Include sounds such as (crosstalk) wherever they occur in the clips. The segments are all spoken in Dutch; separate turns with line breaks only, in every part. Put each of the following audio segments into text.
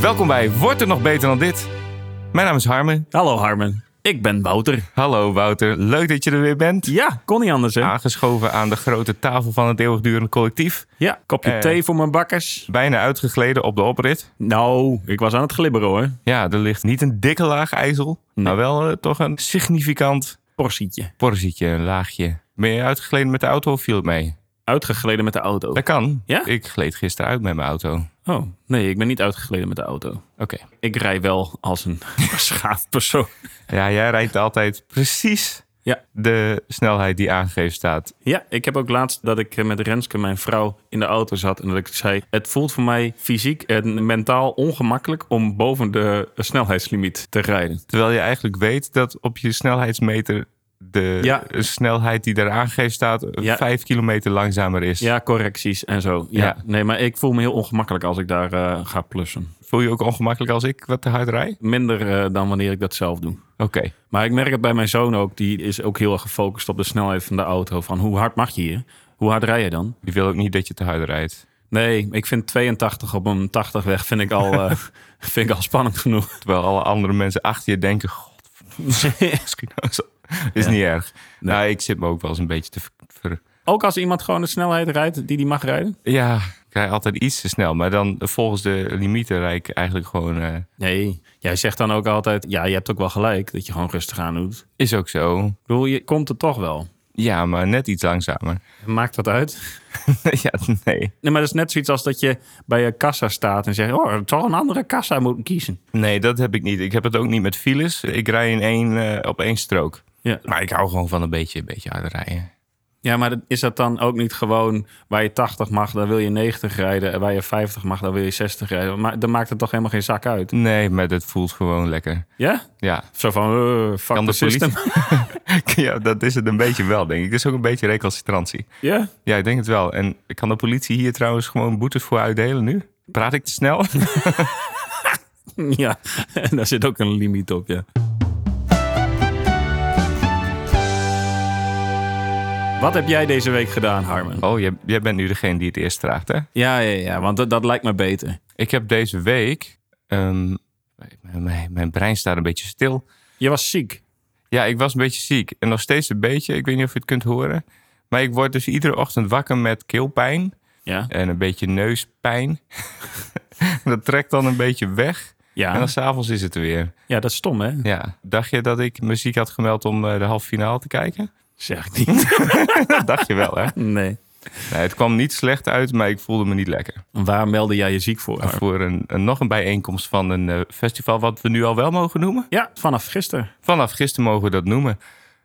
Welkom bij Wordt er nog beter dan dit? Mijn naam is Harmen.
Hallo Harmen, ik ben Wouter. Ah,
Hallo Wouter, leuk dat je er weer bent.
Ja, kon niet anders hè?
Aangeschoven aan de grote tafel van het eeuwigdurende collectief.
Ja, kopje
Eh.
thee voor mijn bakkers.
Bijna uitgegleden op de oprit.
Nou, ik was aan het glibberen hoor.
Ja, er ligt niet een dikke laag ijzel, maar wel eh, toch een significant
Portietje.
porzietje, een laagje. Ben je uitgegleden met de auto of viel het mee?
Uitgegleden met de auto.
Dat kan.
Ja?
Ik gleed gisteren uit met mijn auto. Oké.
Oh, nee, ik ben niet uitgegleden met de auto. Ik rij wel als een (laughs) beschaafd persoon.
Ja, jij rijdt altijd precies
Ja.
de snelheid die aangegeven staat.
Ja, ik heb ook laatst dat ik eh, met Renske, mijn vrouw, in de auto zat. En dat ik zei, het voelt voor mij fysiek en mentaal ongemakkelijk om boven de snelheidslimiet te rijden.
Terwijl je eigenlijk weet dat op je snelheidsmeter de
Ja.
snelheid die daar aangegeven staat eh,
Ja.
vijf kilometer langzamer is.
Ja, correcties en zo. Ja.
Ja.
Nee, maar ik voel me heel ongemakkelijk als ik daar eh, ga plussen.
Voel je ook ongemakkelijk als ik wat te hard rijd?
Minder eh, dan wanneer ik dat zelf doe.
Oké.
Maar ik merk het bij mijn zoon ook. Die is ook heel erg gefocust op de snelheid van de auto. Van hoe hard mag je hier? Hoe hard rij je dan?
Die wil ook niet dat je te hard rijdt.
Nee, ik vind 82 op een 80 weg vind ik al, (laughs) eh, vind ik al spannend (laughs) genoeg.
Terwijl alle andere mensen achter je denken... God, misschien is dat- (laughs) is
Ja.
niet erg. Nou, ik zit me ook wel eens een beetje te... ver- ver-
ook als iemand gewoon de snelheid rijdt die die mag rijden?
Ja, ik rij altijd iets te snel. Maar dan eh, volgens de limieten rijd ik eigenlijk gewoon... eh,
Nee, jij zegt dan ook altijd... Ja, je hebt ook wel gelijk dat je gewoon rustig aan doet. Ik
is ook zo.
bedoel, je komt er toch wel.
Ja, maar net iets langzamer. (laughs)
Maakt dat uit?
ja, nee.
Nee, maar dat is net zoiets als dat je bij een kassa staat en zegt... Oh, toch een andere kassa moeten kiezen.
Nee, dat heb ik niet. Ik heb het ook niet met files. Ik rij in één, eh, op één strook.
Ja.
Maar ik hou gewoon van een beetje, een beetje harder rijden.
Ja, maar dat- is dat dan ook niet gewoon waar je 80 mag, dan wil je 90 rijden. En waar je 50 mag, dan wil je 60 rijden. Maar dan maakt het toch helemaal geen zak uit.
Nee, maar dat voelt gewoon lekker.
Ja?
Ja. (laughs)
Zo van, eh fuck
Kan
the
de politie-
system.
ja, dat is het een beetje wel, denk ik. Het is ook een beetje recalcitrantie.
ja?
Ja, ik denk het wel. En kan de politie hier trouwens gewoon boetes voor uitdelen nu? Praat ik te snel?
(laughs)
(laughs)
Ja, en daar zit ook een limiet op, ja. Wat heb jij deze week gedaan, Harmen?
Oh, jij, jij bent nu degene die het eerst vraagt, hè?
Ja, ja, ja, want dat, dat lijkt me beter.
Ik heb deze week... ehm, mijn- mijn, mijn brein staat een beetje stil.
Je was ziek.
Ja, ik was een beetje ziek. En nog steeds een beetje. Ik weet niet of je het kunt horen. Maar ik word dus iedere ochtend wakker met keelpijn.
Ja?
En een beetje neuspijn. (laughs) dat trekt dan een beetje weg. En
Ja,
dan s'avonds is het er weer.
ja dat is stom, hè?
Ja. Dacht je dat ik muziek had gemeld om eh, de halve finale te kijken?
Zeg ik niet.
dat dacht je wel, hè?
(laughs) Nee.
Nee, het kwam niet slecht uit, maar ik voelde me niet lekker.
Waar meldde jij je ziek voor? Harmen?
Voor een, een- nog een bijeenkomst van een eh, festival wat we nu al wel mogen noemen.
Ja, vanaf gisteren.
Vanaf gisteren mogen we dat noemen.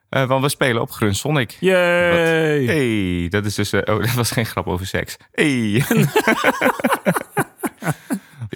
Eh, want we spelen op Grun Sonic.
Yay!
Hey, dat is dus. eh, oh, (laughs) dat was geen grap over seks. Hey. (laughs)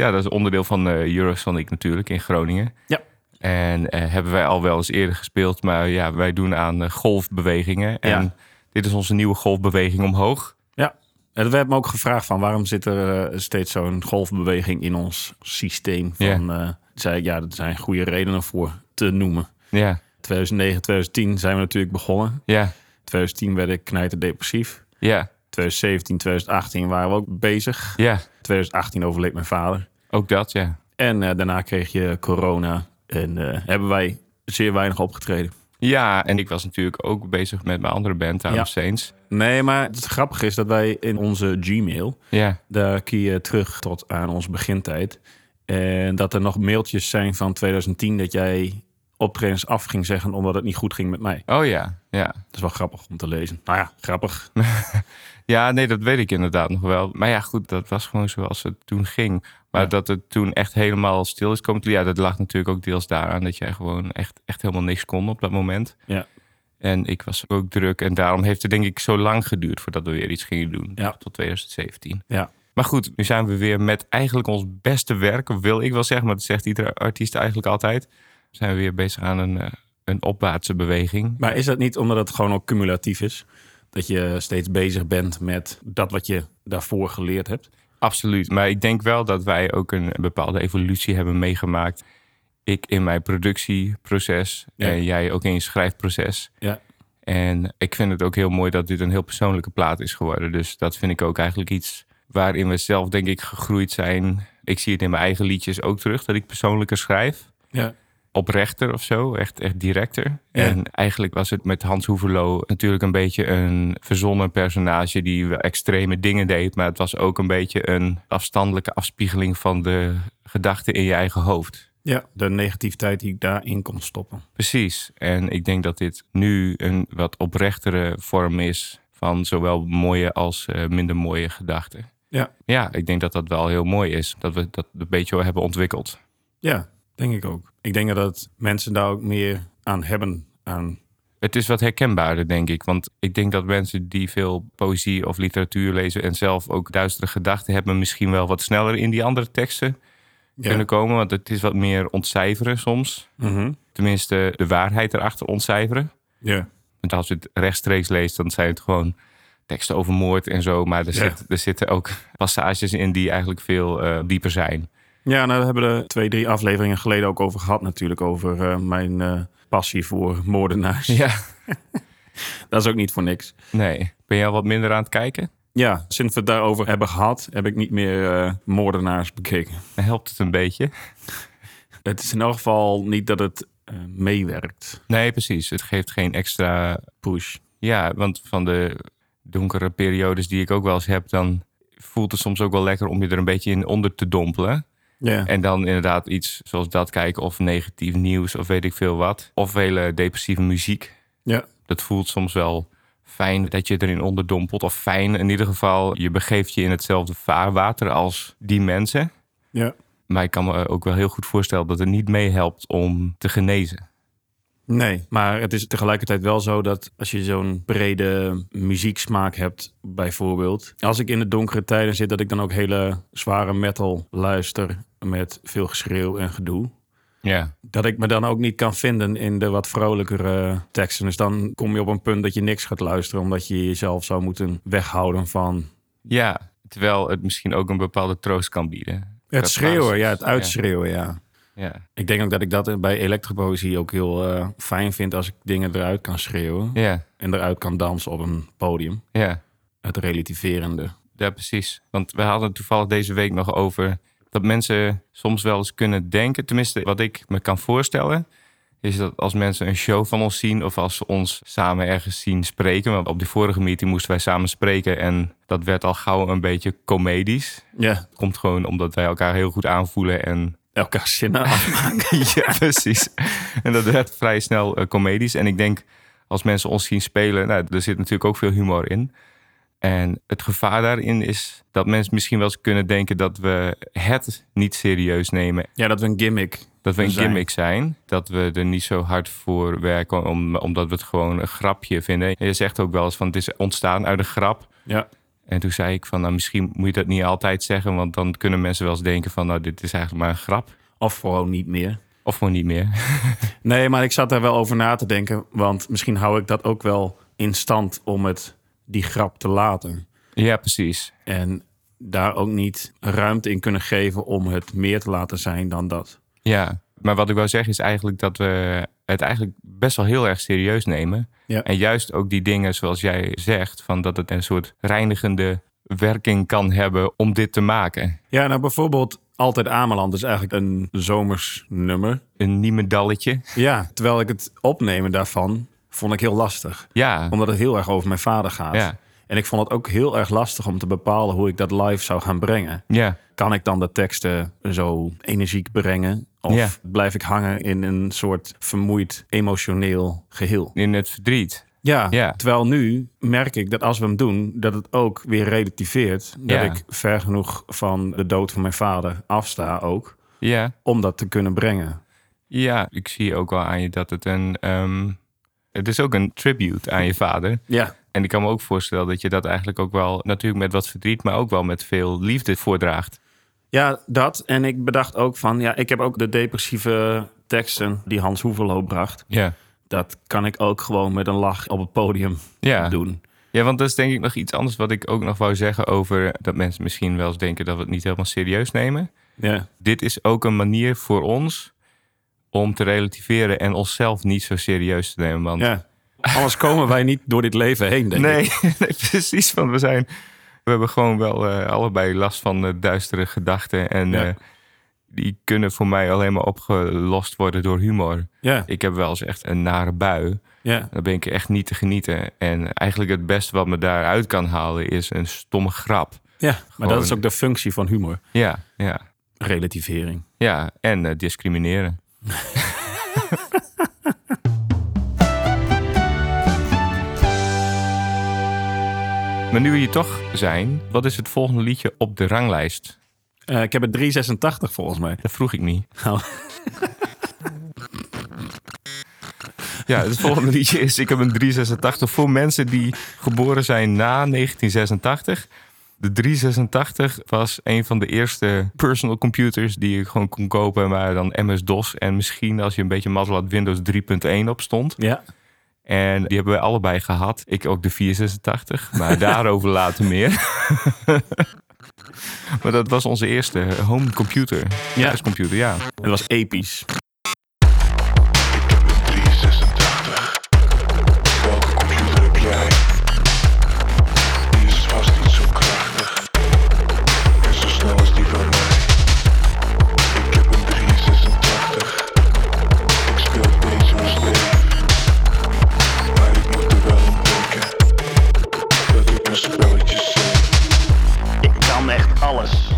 ja, dat is onderdeel van eh, Eurosonic natuurlijk in Groningen.
Ja.
En eh, hebben wij al wel eens eerder gespeeld, maar ja, wij doen aan eh, golfbewegingen. En
Ja.
dit is onze nieuwe golfbeweging omhoog.
Ja, en we hebben ook gevraagd van waarom zit er eh, steeds zo'n golfbeweging in ons systeem. Van,
Ja.
eh, zei, ja, er zijn goede redenen voor te noemen.
Ja,
2009, 2010 zijn we natuurlijk begonnen.
ja,
2010 werd ik knijterdepressief.
ja,
2017, 2018 waren we ook bezig.
ja.
2018 overleed mijn vader.
Ook dat, ja.
En eh, daarna kreeg je corona. En eh, hebben wij zeer weinig opgetreden.
Ja, en ik was natuurlijk ook bezig met mijn andere band, Town
Ja.
of Saints.
Nee, maar het grappige is dat wij in onze Gmail...
Ja,
Daar kun je terug tot aan onze begintijd. En dat er nog mailtjes zijn van 2010 dat jij optredens af ging zeggen omdat het niet goed ging met mij.
oh ja, ja.
Dat is wel grappig om te lezen. Nou ja, grappig.
Ja, nee, dat weet ik inderdaad nog wel. Maar ja, goed, dat was gewoon zoals het toen ging. Maar
Ja.
dat het toen echt helemaal stil is komen. te- Ja, dat lag natuurlijk ook deels daaraan dat jij gewoon echt, echt helemaal niks kon op dat moment.
Ja.
En ik was ook druk. En daarom heeft het denk ik zo lang geduurd voordat we weer iets gingen doen.
Ja.
Tot 2017.
Ja.
Maar goed, nu zijn we weer met eigenlijk ons beste werk, wil ik wel zeggen. Maar dat zegt iedere artiest eigenlijk altijd. Zijn we weer bezig aan een, eh, een opwaartse beweging.
Maar is dat niet omdat het gewoon ook cumulatief is? Dat je steeds bezig bent met dat wat je daarvoor geleerd hebt?
Absoluut. Maar ik denk wel dat wij ook een bepaalde evolutie hebben meegemaakt. Ik in mijn productieproces
Ja.
en jij ook in je schrijfproces.
Ja.
En ik vind het ook heel mooi dat dit een heel persoonlijke plaat is geworden. Dus dat vind ik ook eigenlijk iets waarin we zelf, denk ik, gegroeid zijn. Ik zie het in mijn eigen liedjes ook terug, dat ik persoonlijker schrijf.
Ja.
Oprechter of zo, echt, echt directer.
Ja.
En eigenlijk was het met Hans Hoeverlo natuurlijk een beetje een verzonnen personage die wel extreme dingen deed. Maar het was ook een beetje een afstandelijke afspiegeling van de gedachten in je eigen hoofd.
ja, de negativiteit die ik daarin kon stoppen.
Precies. En ik denk dat dit nu een wat oprechtere vorm is van zowel mooie als eh, minder mooie gedachten.
Ja.
Ja, ik denk dat dat wel heel mooi is. Dat we dat een beetje hebben ontwikkeld.
Ja, denk ik ook. Ik denk dat mensen daar ook meer aan hebben. Aan.
Het is wat herkenbaarder, denk ik. Want ik denk dat mensen die veel poëzie of literatuur lezen en zelf ook duistere gedachten hebben, misschien wel wat sneller in die andere teksten
Ja.
kunnen komen. Want het is wat meer ontcijferen soms.
Mhm.
Tenminste, de waarheid erachter ontcijferen.
ja.
Want als je het rechtstreeks leest, dan zijn het gewoon teksten over moord en zo. Maar er,
Ja.
zit, er zitten ook passages in die eigenlijk veel eh, dieper zijn.
Ja, nou, we hebben er twee, drie afleveringen geleden ook over gehad natuurlijk. Over eh, mijn eh, passie voor moordenaars.
Ja.
(laughs) Dat is ook niet voor niks.
Nee. Ben jij al wat minder aan het kijken?
Ja, sinds we het daarover hebben gehad, heb ik niet meer eh, moordenaars bekeken.
Dan helpt het een beetje.
Het is in elk geval niet dat het eh, meewerkt.
Nee, precies. Het geeft geen extra...
Push.
Ja, want van de donkere periodes die ik ook wel eens heb, dan voelt het soms ook wel lekker om je er een beetje in onder te dompelen.
Ja.
En dan inderdaad iets zoals dat kijken of negatief nieuws of weet ik veel wat. Of hele depressieve muziek.
ja.
Dat voelt soms wel fijn dat je erin onderdompelt. Of fijn in ieder geval, je begeeft je in hetzelfde vaarwater als die mensen.
Ja.
Maar ik kan me ook wel heel goed voorstellen dat het niet meehelpt om te genezen.
Nee, maar het is tegelijkertijd wel zo dat als je zo'n brede muzieksmaak hebt, bijvoorbeeld. Als ik in de donkere tijden zit, dat ik dan ook hele zware metal luister met veel geschreeuw en gedoe.
Ja,
dat ik me dan ook niet kan vinden in de wat vrolijkere teksten. Dus dan kom je op een punt dat je niks gaat luisteren, omdat je jezelf zou moeten weghouden van
ja terwijl het misschien ook een bepaalde troost kan bieden.
het
Dat
schreeuwen,
basis,
ja, het
ja.
uitschreeuwen, ja.
Ja,
Ik denk ook dat ik dat bij elektropoëzie ook heel eh, fijn vind als ik dingen eruit kan schreeuwen
ja,
en eruit kan dansen op een podium.
ja,
Het relativerende.
ja, precies. Want we hadden het toevallig deze week nog over dat mensen soms wel eens kunnen denken. Tenminste, wat ik me kan voorstellen, is dat als mensen een show van ons zien of als ze ons samen ergens zien spreken. Want op die vorige meeting moesten wij samen spreken en dat werd al gauw een beetje comedisch.
Ja,
Dat komt gewoon omdat wij elkaar heel goed aanvoelen en
elkaar zinnen af.
(laughs) ja, precies. En dat werd vrij snel eh, comedisch. En ik denk, als mensen ons zien spelen, nou, er zit natuurlijk ook veel humor in. En het gevaar daarin is dat mensen misschien wel eens kunnen denken dat we het niet serieus nemen.
ja, dat we een gimmick.
Dat we een
Zijn.
gimmick zijn. Dat we er niet zo hard voor werken, om, omdat we het gewoon een grapje vinden. En je zegt ook wel eens van, het is ontstaan uit een grap.
Ja,
En toen zei ik van, nou, misschien moet je dat niet altijd zeggen, want dan kunnen mensen wel eens denken van, nou, dit is eigenlijk maar een grap.
of gewoon niet meer.
Of gewoon niet meer. (laughs)
Nee, maar ik zat daar wel over na te denken. Want misschien hou ik dat ook wel in stand om het die grap te laten.
ja, precies.
En daar ook niet ruimte in kunnen geven om het meer te laten zijn dan dat.
Ja, maar wat ik wou zeggen is eigenlijk dat we het eigenlijk best wel heel erg serieus nemen.
Ja.
En juist ook die dingen zoals jij zegt, van dat het een soort reinigende werking kan hebben om dit te maken.
Ja, nou bijvoorbeeld Altijd Ameland is eigenlijk een zomers nummer.
Een niemendalletje.
Ja, terwijl ik het opnemen daarvan vond ik heel lastig.
Ja,
Omdat het heel erg over mijn vader gaat.
Ja.
En ik vond het ook heel erg lastig om te bepalen hoe ik dat live zou gaan brengen.
ja,
kan ik dan de teksten zo energiek brengen? Of
Ja.
blijf ik hangen in een soort vermoeid emotioneel geheel?
in het verdriet.
Ja,
Ja.
terwijl nu merk ik dat als we hem doen, dat het ook weer relativeert. Dat
Ja.
ik ver genoeg van de dood van mijn vader afsta ook,
Ja,
om dat te kunnen brengen.
ja, ik zie ook wel aan je dat het een... ehm, het is ook een tribute aan je vader.
Ja,
En ik kan me ook voorstellen dat je dat eigenlijk ook wel... natuurlijk met wat verdriet, maar ook wel met veel liefde voordraagt.
ja dat. En ik bedacht ook van, ja, ik heb ook de depressieve teksten die Hans Hoevelo bracht.
Ja,
Dat kan ik ook gewoon met een lach op het podium
ja.
doen.
Ja, want dat is denk ik nog iets anders wat ik ook nog wou zeggen over dat mensen misschien wel eens denken dat we het niet helemaal serieus nemen.
Ja,
Dit is ook een manier voor ons om te relativeren en onszelf niet zo serieus te nemen. Want (laughs)
ja. Anders komen wij niet door dit leven heen, denk ik.
nee, nee, precies. Want we zijn We hebben gewoon wel eh, allebei last van eh, duistere gedachten. En
Ja.
eh, die kunnen voor mij alleen maar opgelost worden door humor.
Ja,
Ik heb wel eens echt een nare bui.
ja.
Dan ben ik echt niet te genieten. En eigenlijk het beste wat me daaruit kan halen is een stomme grap.
ja. maar dat
Gewoon-
is ook de functie van humor.
Ja, ja,
Relativering.
ja. En eh, discrimineren. (laughs) maar nu we hier toch zijn, wat is het volgende liedje op de ranglijst?
Eh, ik heb het 386 volgens mij.
Dat vroeg ik niet.
Oh.
Ja, het volgende liedje is Ik heb een 386 voor mensen die geboren zijn na 1986. De 386 was een van de eerste personal computers die je gewoon kon kopen, maar dan MS-DOS. En misschien als je een beetje mazzel had, Windows 3.1 op stond.
Ja.
En die hebben wij allebei gehad. Ik ook de 486,
(laughs)
maar daarover later meer. maar dat was onze eerste home computer.
Ja.
Thuiscomputer, ja.
Het was episch.
Welke computer heb jij? Die is vast niet zo krachtig en zo snel als die van mij. Ik heb een 386. Ik speel het deze mijn sleef, maar ik moet er wel aan denken dat ik mijn spelletjes zeg.
Ik kan echt alles.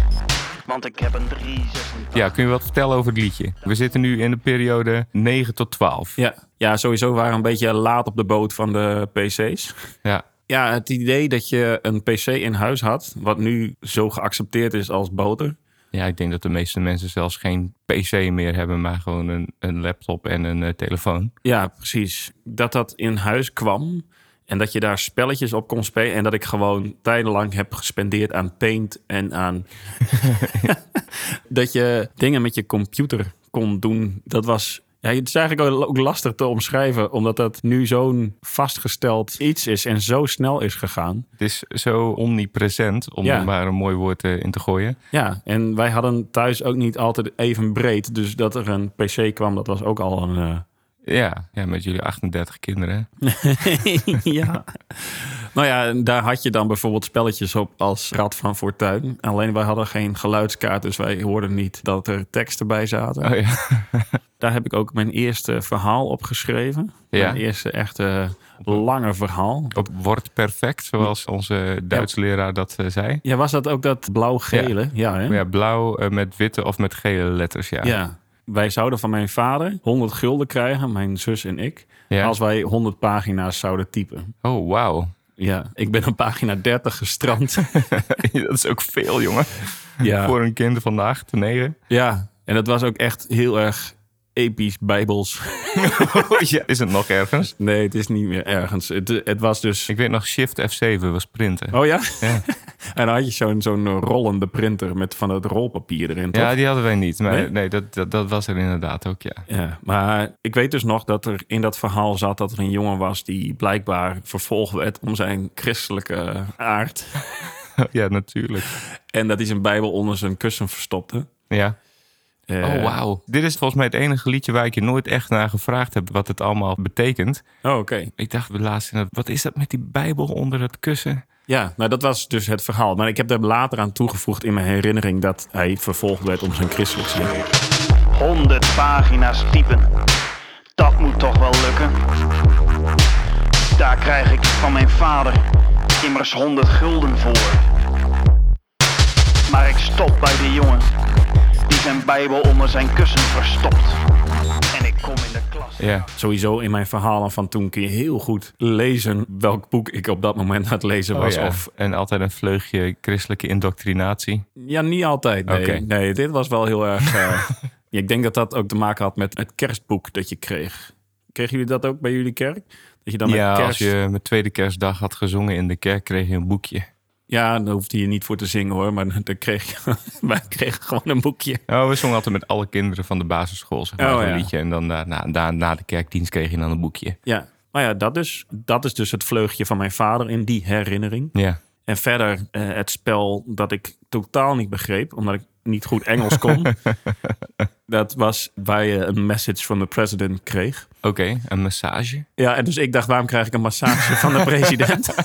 Want ik heb een 386.
Ja, kun je wat vertellen over het liedje? We zitten nu in de periode 9 tot 12.
Ja. ja, sowieso waren we een beetje laat op de boot van de PC's.
Ja,
Ja, het idee dat je een PC in huis had, wat nu zo geaccepteerd is als boter.
ja ik denk dat de meeste mensen zelfs geen PC meer hebben, maar gewoon een, een laptop en een eh, telefoon.
Ja, precies. Dat dat in huis kwam en dat je daar spelletjes op kon spelen. En dat ik gewoon tijdenlang heb gespendeerd aan paint en aan. (laughs) dat je dingen met je computer kon doen. Dat was. Ja, het is eigenlijk ook ook lastig te omschrijven, omdat dat nu zo'n vastgesteld iets is en zo snel is gegaan.
Het is zo omnipresent, om
Ja.
er maar een mooi woord eh, in te gooien.
Ja, en wij hadden thuis ook niet altijd even breed. Dus dat er een PC kwam, dat was ook al een. eh,
Ja, ja met jullie 38 kinderen. (laughs)
ja. eh, (laughs) Nou ja, en daar had je dan bijvoorbeeld spelletjes op als Rad van Fortuin. Alleen wij hadden geen geluidskaart, dus wij hoorden niet dat er teksten bij zaten.
Oh ja.
Daar heb ik ook mijn eerste verhaal op geschreven.
Ja.
Mijn eerste echte lange verhaal.
Op Wordt Perfect, zoals onze Duitse leraar dat eh, zei.
Ja, was dat ook dat blauw-gele? Ja, hè?
Ja, blauw eh, met witte of met gele letters, ja.
Ja. Wij zouden van mijn vader 100 gulden krijgen, mijn zus en ik,
Ja.
als wij 100 pagina's zouden typen.
Oh, wauw. (laughs)
Ja, ik ben op pagina 30 gestrand.
dat is ook veel, jongen.
ja.
Voor een kind van 8,
(laughs)
9.
Ja, en dat was ook echt heel erg episch bijbels.
(laughs)
(laughs)
ja. Is het nog ergens?
Nee, het is niet meer ergens. Het, het was dus...
Ik weet nog, Shift F7 was printen.
Oh ja?
Ja.
(laughs) en dan had je zo'n zo'n rollende printer met van dat rolpapier erin, toch?
ja, die hadden wij niet. Maar
Nee?
nee, dat, dat, dat was er inderdaad ook, ja. (laughs)
Ja, maar ik weet dus nog dat er in dat verhaal zat dat er een jongen was die blijkbaar vervolgd werd om zijn christelijke aard.
ja, natuurlijk.
En dat hij zijn bijbel onder zijn kussen verstopte.
Ja.
Eh,
Oh, wauw. Dit is volgens mij het enige liedje waar ik je nooit echt naar gevraagd heb wat het allemaal betekent.
Oh, oké.
Ik dacht laatst, inderdaad, wat is dat met die Bijbel onder het kussen?
Ja, nou dat was dus het verhaal. Maar ik heb daar later aan toegevoegd in mijn herinnering dat hij vervolgd werd om zijn christelijk zijn.
100 pagina's typen. Dat moet toch wel lukken? Daar krijg ik van mijn vader immers 100 gulden voor. Maar ik stop bij die jongen die zijn Bijbel onder zijn kussen verstopt. En ik kom in de klas.
Ja.
Sowieso in mijn verhalen van toen kun je heel goed lezen welk boek ik op dat moment aan het lezen was.
Oh ja.
Of
En altijd een vleugje christelijke indoctrinatie.
ja, niet altijd. Nee,
Oké.
nee dit was wel heel
(laughs)
erg. eh, ja, ik denk dat dat ook te maken had met het kerstboek dat je kreeg. Kregen jullie dat ook bij jullie kerk? Dat je dan
ja,
met
als
kerst.
je mijn tweede kerstdag had gezongen in de kerk, kreeg je een boekje.
Ja, daar hoefde je niet voor te zingen hoor, maar dan kreeg je. (laughs) Wij kregen gewoon een boekje.
Nou, we zongen altijd met alle kinderen van de basisschool, zeg maar,
Oh,
zo'n
ja.
liedje. En dan na, na, na, na de kerkdienst kreeg je dan een boekje.
Ja. Maar ja, dat, dus, dat is dus het vleugje van mijn vader in die herinnering.
Ja.
En verder eh, het spel dat ik totaal niet begreep, omdat ik niet goed Engels kon. dat was waar je een message van de president kreeg.
Oké, een massage.
Ja, en dus ik dacht, waarom krijg ik een massage van de president?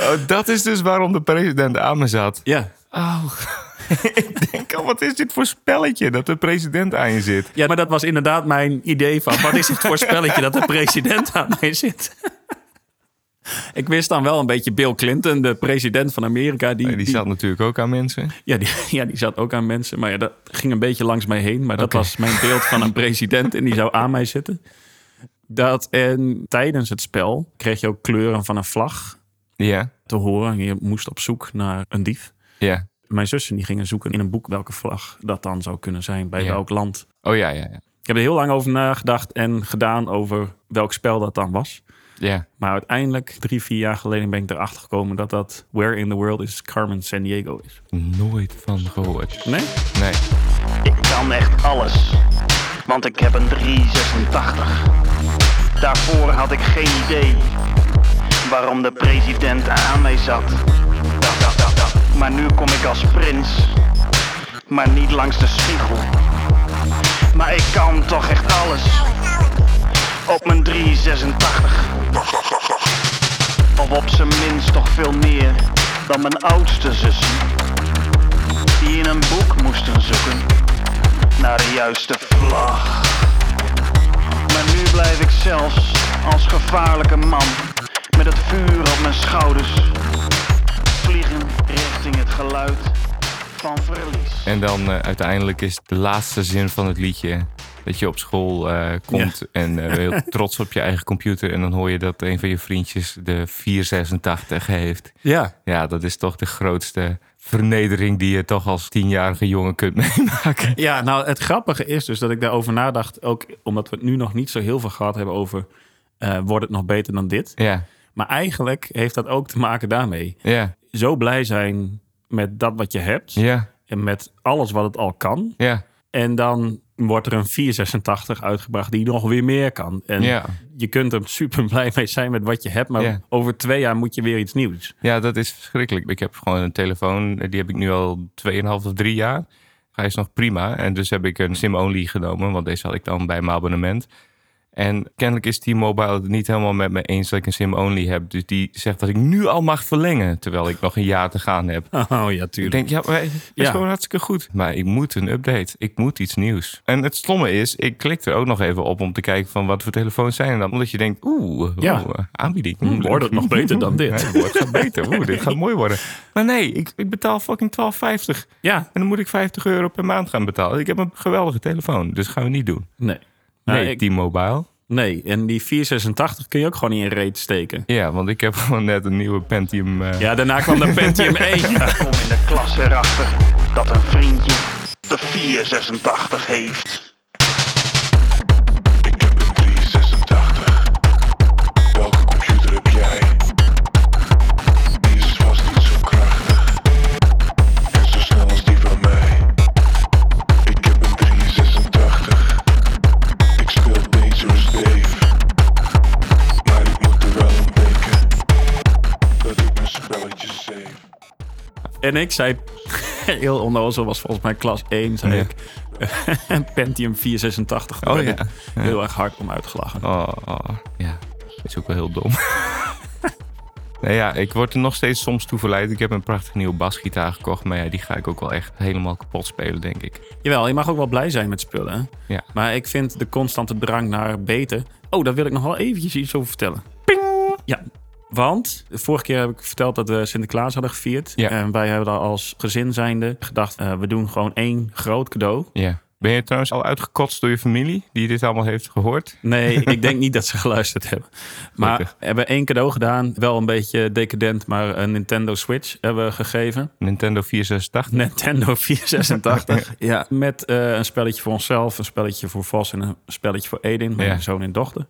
Oh, dat is dus waarom de president aan me zat.
Ja.
Oh, (laughs) ik denk al, wat is dit voor spelletje dat de president aan je zit?
ja, maar dat was inderdaad mijn idee van... wat is het voor spelletje dat de president aan mij zit? (laughs) Ik wist dan wel een beetje Bill Clinton, de president van Amerika. Die,
Nee, die zat natuurlijk ook aan mensen.
ja, die, (laughs) ja, die zat ook aan mensen. Maar ja, dat ging een beetje langs mij heen. Maar dat
Oké.
was mijn beeld
(laughs)
van een president en die zou aan mij zitten. Dat en tijdens het spel kreeg je ook kleuren van een vlag
Ja,
te horen. Je moest op zoek naar een dief.
ja.
Mijn zussen die gingen zoeken in een boek welke vlag dat dan zou kunnen zijn bij
Ja.
welk land.
Oh ja, ja, ja.
Ik heb er heel lang over nagedacht en gedaan over welk spel dat dan was.
Ja,
Maar uiteindelijk, drie, vier jaar geleden, ben ik erachter gekomen dat dat Where in the World is Carmen San Diego is.
nooit van gehoord.
Nee?
Nee.
Ik kan echt alles. Want ik heb een 386. Daarvoor had ik geen idee waarom de president aan mij zat. Da, da, da, da. Maar nu kom ik als prins. Maar niet langs de spiegel. Maar ik kan toch echt alles. Op mijn 386. Of op zijn minst toch veel meer dan mijn oudste zussen die in een boek moesten zoeken naar de juiste vlag. Maar nu blijf ik zelfs als gevaarlijke man met het vuur op mijn schouders vliegen richting het geluid van verlies.
En dan eh, uiteindelijk is de laatste zin van het liedje dat je op school eh, komt en eh, heel trots op je eigen computer. En dan hoor je dat een van je vriendjes de 486 heeft.
Ja.
Ja, dat is toch de grootste vernedering die je toch als tienjarige jongen kunt (laughs) meemaken.
Ja, nou het grappige is dus dat ik daarover nadacht. Ook omdat we het nu nog niet zo heel veel gehad hebben over... eh, wordt het nog beter dan dit?
Ja,
Maar eigenlijk heeft dat ook te maken daarmee.
ja,
Zo blij zijn met dat wat je hebt.
ja,
En met alles wat het al kan.
ja,
En dan wordt er een 486 uitgebracht die nog weer meer kan. En
Ja.
je kunt er super blij mee zijn met wat je hebt. Maar
Ja.
over twee jaar moet je weer iets nieuws.
ja, dat is verschrikkelijk. Ik heb gewoon een telefoon, eh, die heb ik nu al 2,5 of 3 jaar. Hij is nog prima. En dus heb ik een SIM-only genomen, want deze had ik dan bij mijn abonnement. En kennelijk is T-Mobile het niet helemaal met me eens dat ik een SIM-only heb. Dus die zegt dat ik nu al mag verlengen, terwijl ik nog een jaar te gaan heb.
Oh ja,
Ik
tuurlijk.
denk, ja, maar het is
Ja.
gewoon hartstikke goed. Maar ik moet een update. Ik moet iets nieuws. En het stomme is, ik klik er ook nog even op om te kijken van wat voor telefoons zijn er dan. Omdat je denkt, oeh,
Ja.
oeh, aanbieding.
Hm, wordt het
(laughs)
nog beter dan dit?
Ja, het wordt gaat beter. Oeh, dit gaat mooi worden. Maar nee, ik, ik betaal fucking 12,50.
Ja,
En dan moet ik 50 euro per maand gaan betalen. Ik heb een geweldige telefoon, dus gaan we niet doen.
nee. Nou,
Nee,
ik-
T-Mobile.
nee, en die 486 kun je ook gewoon in je reet steken.
Ja, want ik heb (laughs) gewoon net een nieuwe Pentium. eh,
Ja, daarna kwam
(laughs)
de Pentium 1.
Kom in de klas erachter dat een vriendje de 486 heeft.
Ik heb een 386. Welke computer heb jij? Die is vast niet zo krachtig. En zo snel als die van mij. Ik heb een 386. Ik speel Dangerous Dave. Maar ik moet er wel aan denken. Dat ik mijn spelletjes save.
En ik zei, (laughs) heel onnozel was volgens mij klas 1, zei
Ja.
ik. (laughs) Pentium 486. Daar
Oh
werd
ja.
ik Heel erg hard om uitgelachen.
Oh, oh, ja. Is ook wel heel dom. (laughs) nou ja, ik word er nog steeds soms toe verleid. Ik heb een prachtige nieuwe basgitaar gekocht. Maar ja, die ga ik ook wel echt helemaal kapot spelen, denk ik.
Jawel, je mag ook wel blij zijn met spullen. hè?
Ja.
Maar ik vind de constante drang naar beter. Oh, daar wil ik nog wel eventjes iets over vertellen. Ping! Ja, want de vorige keer heb ik verteld dat we Sinterklaas hadden gevierd.
Ja.
En wij hebben daar als gezin zijnde gedacht, eh, we doen gewoon één groot cadeau.
ja. Ben je trouwens al uitgekotst door je familie die dit allemaal heeft gehoord?
Nee,
(laughs)
ik denk niet dat ze geluisterd hebben. Maar
Gelukkig.
hebben we één cadeau gedaan. Wel een beetje decadent, maar een Nintendo Switch hebben we gegeven. (laughs)
Nintendo 486?
Nintendo
(laughs)
486. ja. Met eh, een spelletje voor onszelf, een spelletje voor Vos en een spelletje voor Edin, mijn
Ja.
zoon en dochter.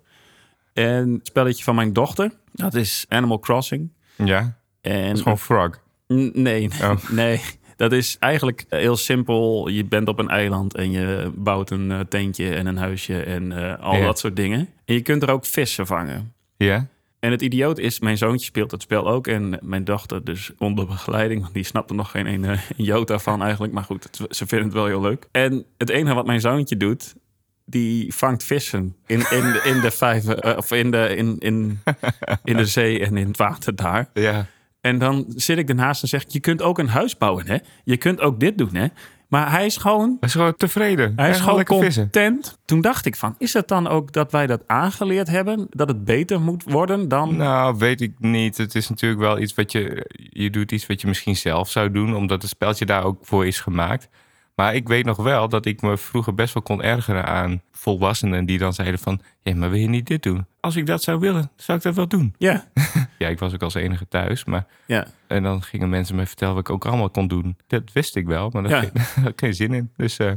En het spelletje van mijn dochter, dat is Animal Crossing.
Ja. Dat
En
is gewoon Frog.
N- Nee,
Oh.
(laughs) nee. Dat is eigenlijk eh, heel simpel. Je bent op een eiland en je bouwt een eh, tentje en een huisje en eh, al
Ja.
dat soort dingen. En je kunt er ook vissen vangen.
Ja.
En het idioot is, mijn zoontje speelt dat spel ook. En mijn dochter dus onder begeleiding. Want die snapt er nog geen ene (laughs) jota van eigenlijk. Maar goed, het- ze vinden het wel heel leuk. En het enige wat mijn zoontje doet, die vangt vissen. In, in, de- in de vijver, eh, of in de, in, in, in de zee en in het water daar.
Ja.
En dan zit ik ernaast en zeg ik, je kunt ook een huis bouwen, hè? Je kunt ook dit doen, hè? Maar hij is gewoon
Hij is gewoon tevreden.
hij is
gaat
gewoon
lekker vissen.
content. Toen dacht ik van, is het dan ook dat wij dat aangeleerd hebben? Dat het beter moet worden dan...
Nou, weet ik niet. Het is natuurlijk wel iets wat je... Je doet iets wat je misschien zelf zou doen... omdat het speltje daar ook voor is gemaakt. Maar ik weet nog wel dat ik me vroeger best wel kon ergeren aan volwassenen... die dan zeiden van... Ja, maar wil je niet dit doen? Als ik dat zou willen, zou ik dat wel doen.
Ja,
Ja, ik was ook als enige thuis, maar...
ja.
En dan gingen mensen me vertellen wat ik ook allemaal kon doen. Dat wist ik wel, maar daar
Ja.
had ik- daar had ik geen (laughs) zin in. Dus eh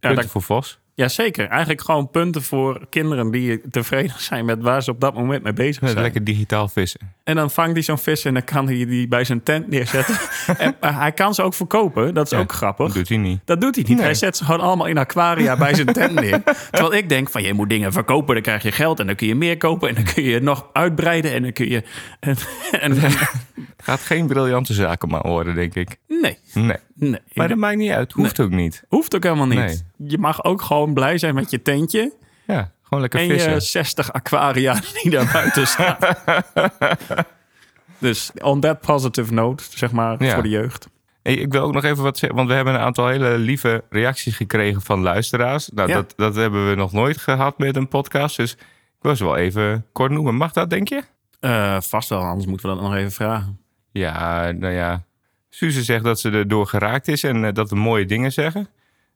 punten
dat-
voor Vos.
ja, zeker. Eigenlijk gewoon punten voor kinderen die tevreden zijn met waar ze op dat moment mee bezig
Met
zijn.
Lekker digitaal vissen.
En dan vangt hij zo'n vis en dan kan hij die bij zijn tent
(laughs)
neerzetten. en, maar hij kan ze ook verkopen, dat is
Ja,
ook
Dat
grappig.
doet hij niet.
Dat doet hij niet.
Nee.
Hij zet ze gewoon allemaal in aquaria bij zijn tent neer. Terwijl ik denk van, je moet dingen verkopen, dan krijg je geld. En dan kun je meer kopen en dan kun je het nog uitbreiden. En dan kun je... En, en-
Gaat geen briljante zaken maar horen, denk ik.
nee,
Nee.
nee.
Maar dat maakt niet uit. Hoeft ook niet.
hoeft ook helemaal niet.
Nee.
Je mag ook gewoon blij zijn met je tentje.
Ja, gewoon lekker
En
vissen.
je 60 aquaria (laughs) die daar buiten (laughs) staan. dus on that positive note, zeg maar,
Ja.
voor de jeugd.
Hey, ik wil ook nog even wat zeggen, want we hebben een aantal hele lieve reacties gekregen van luisteraars. Nou,
Ja.
dat, dat hebben we nog nooit gehad met een podcast. Dus ik wil ze wel even kort noemen. Mag dat, denk je?
Eh, vast wel, anders moeten we dat nog even vragen.
Ja, nou ja. Suze zegt dat ze erdoor geraakt is en eh, dat we mooie dingen zeggen.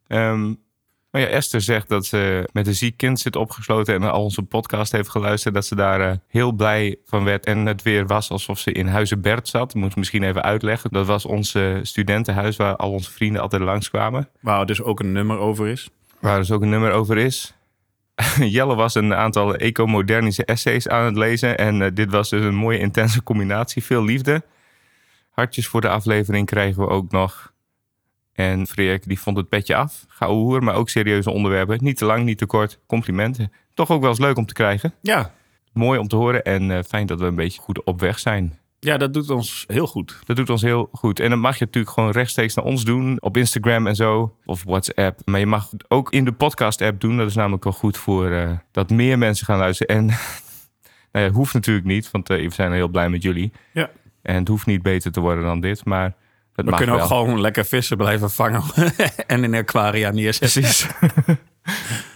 Ehm, maar ja, Esther zegt dat ze met een ziek kind zit opgesloten en al onze podcast heeft geluisterd. Dat ze daar eh, heel blij van werd en het weer was alsof ze in Huizen Bert zat. Moet ik misschien even uitleggen. Dat was ons eh, studentenhuis waar al onze vrienden altijd langskwamen.
Waar dus ook een nummer over is.
Waar dus ook een nummer over is. (laughs) Jelle was een aantal ecomodernische essays aan het lezen. En eh, dit was dus een mooie intense combinatie. Veel liefde. Hartjes voor de aflevering krijgen we ook nog. En Freek die vond het petje af. Gauw hoer, maar ook serieuze onderwerpen. Niet te lang, niet te kort. Complimenten. Toch ook wel eens leuk om te krijgen.
Ja.
Mooi om te horen en eh, fijn dat we een beetje goed op weg zijn.
ja, dat doet ons heel goed.
Dat doet ons heel goed. En dat mag je natuurlijk gewoon rechtstreeks naar ons doen. Op Instagram en zo. Of WhatsApp. Maar je mag het ook in de podcast-app doen. Dat is namelijk wel goed voor eh, dat meer mensen gaan luisteren. En (laughs) nou ja, hoeft natuurlijk niet. Want eh, we zijn heel blij met jullie.
Ja.
En het hoeft niet beter te worden dan dit. Maar het
We
mag
kunnen
wel.
ook gewoon lekker vissen blijven vangen (laughs) en in aquaria neerzetten.
Precies.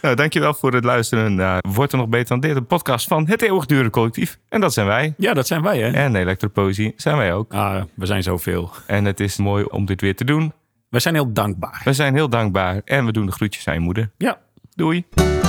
nou, dankjewel voor het luisteren naar Wordt er nog beter dan dit? Een podcast van het eeuwigdurende collectief. En dat zijn wij.
Ja, dat zijn wij, hè?
En Elektropoëzie zijn wij ook.
Ah, we zijn zoveel.
En het is mooi om dit weer te doen.
We zijn heel dankbaar.
We zijn heel dankbaar. En we doen de groetjes aan je moeder.
Ja.
Doei.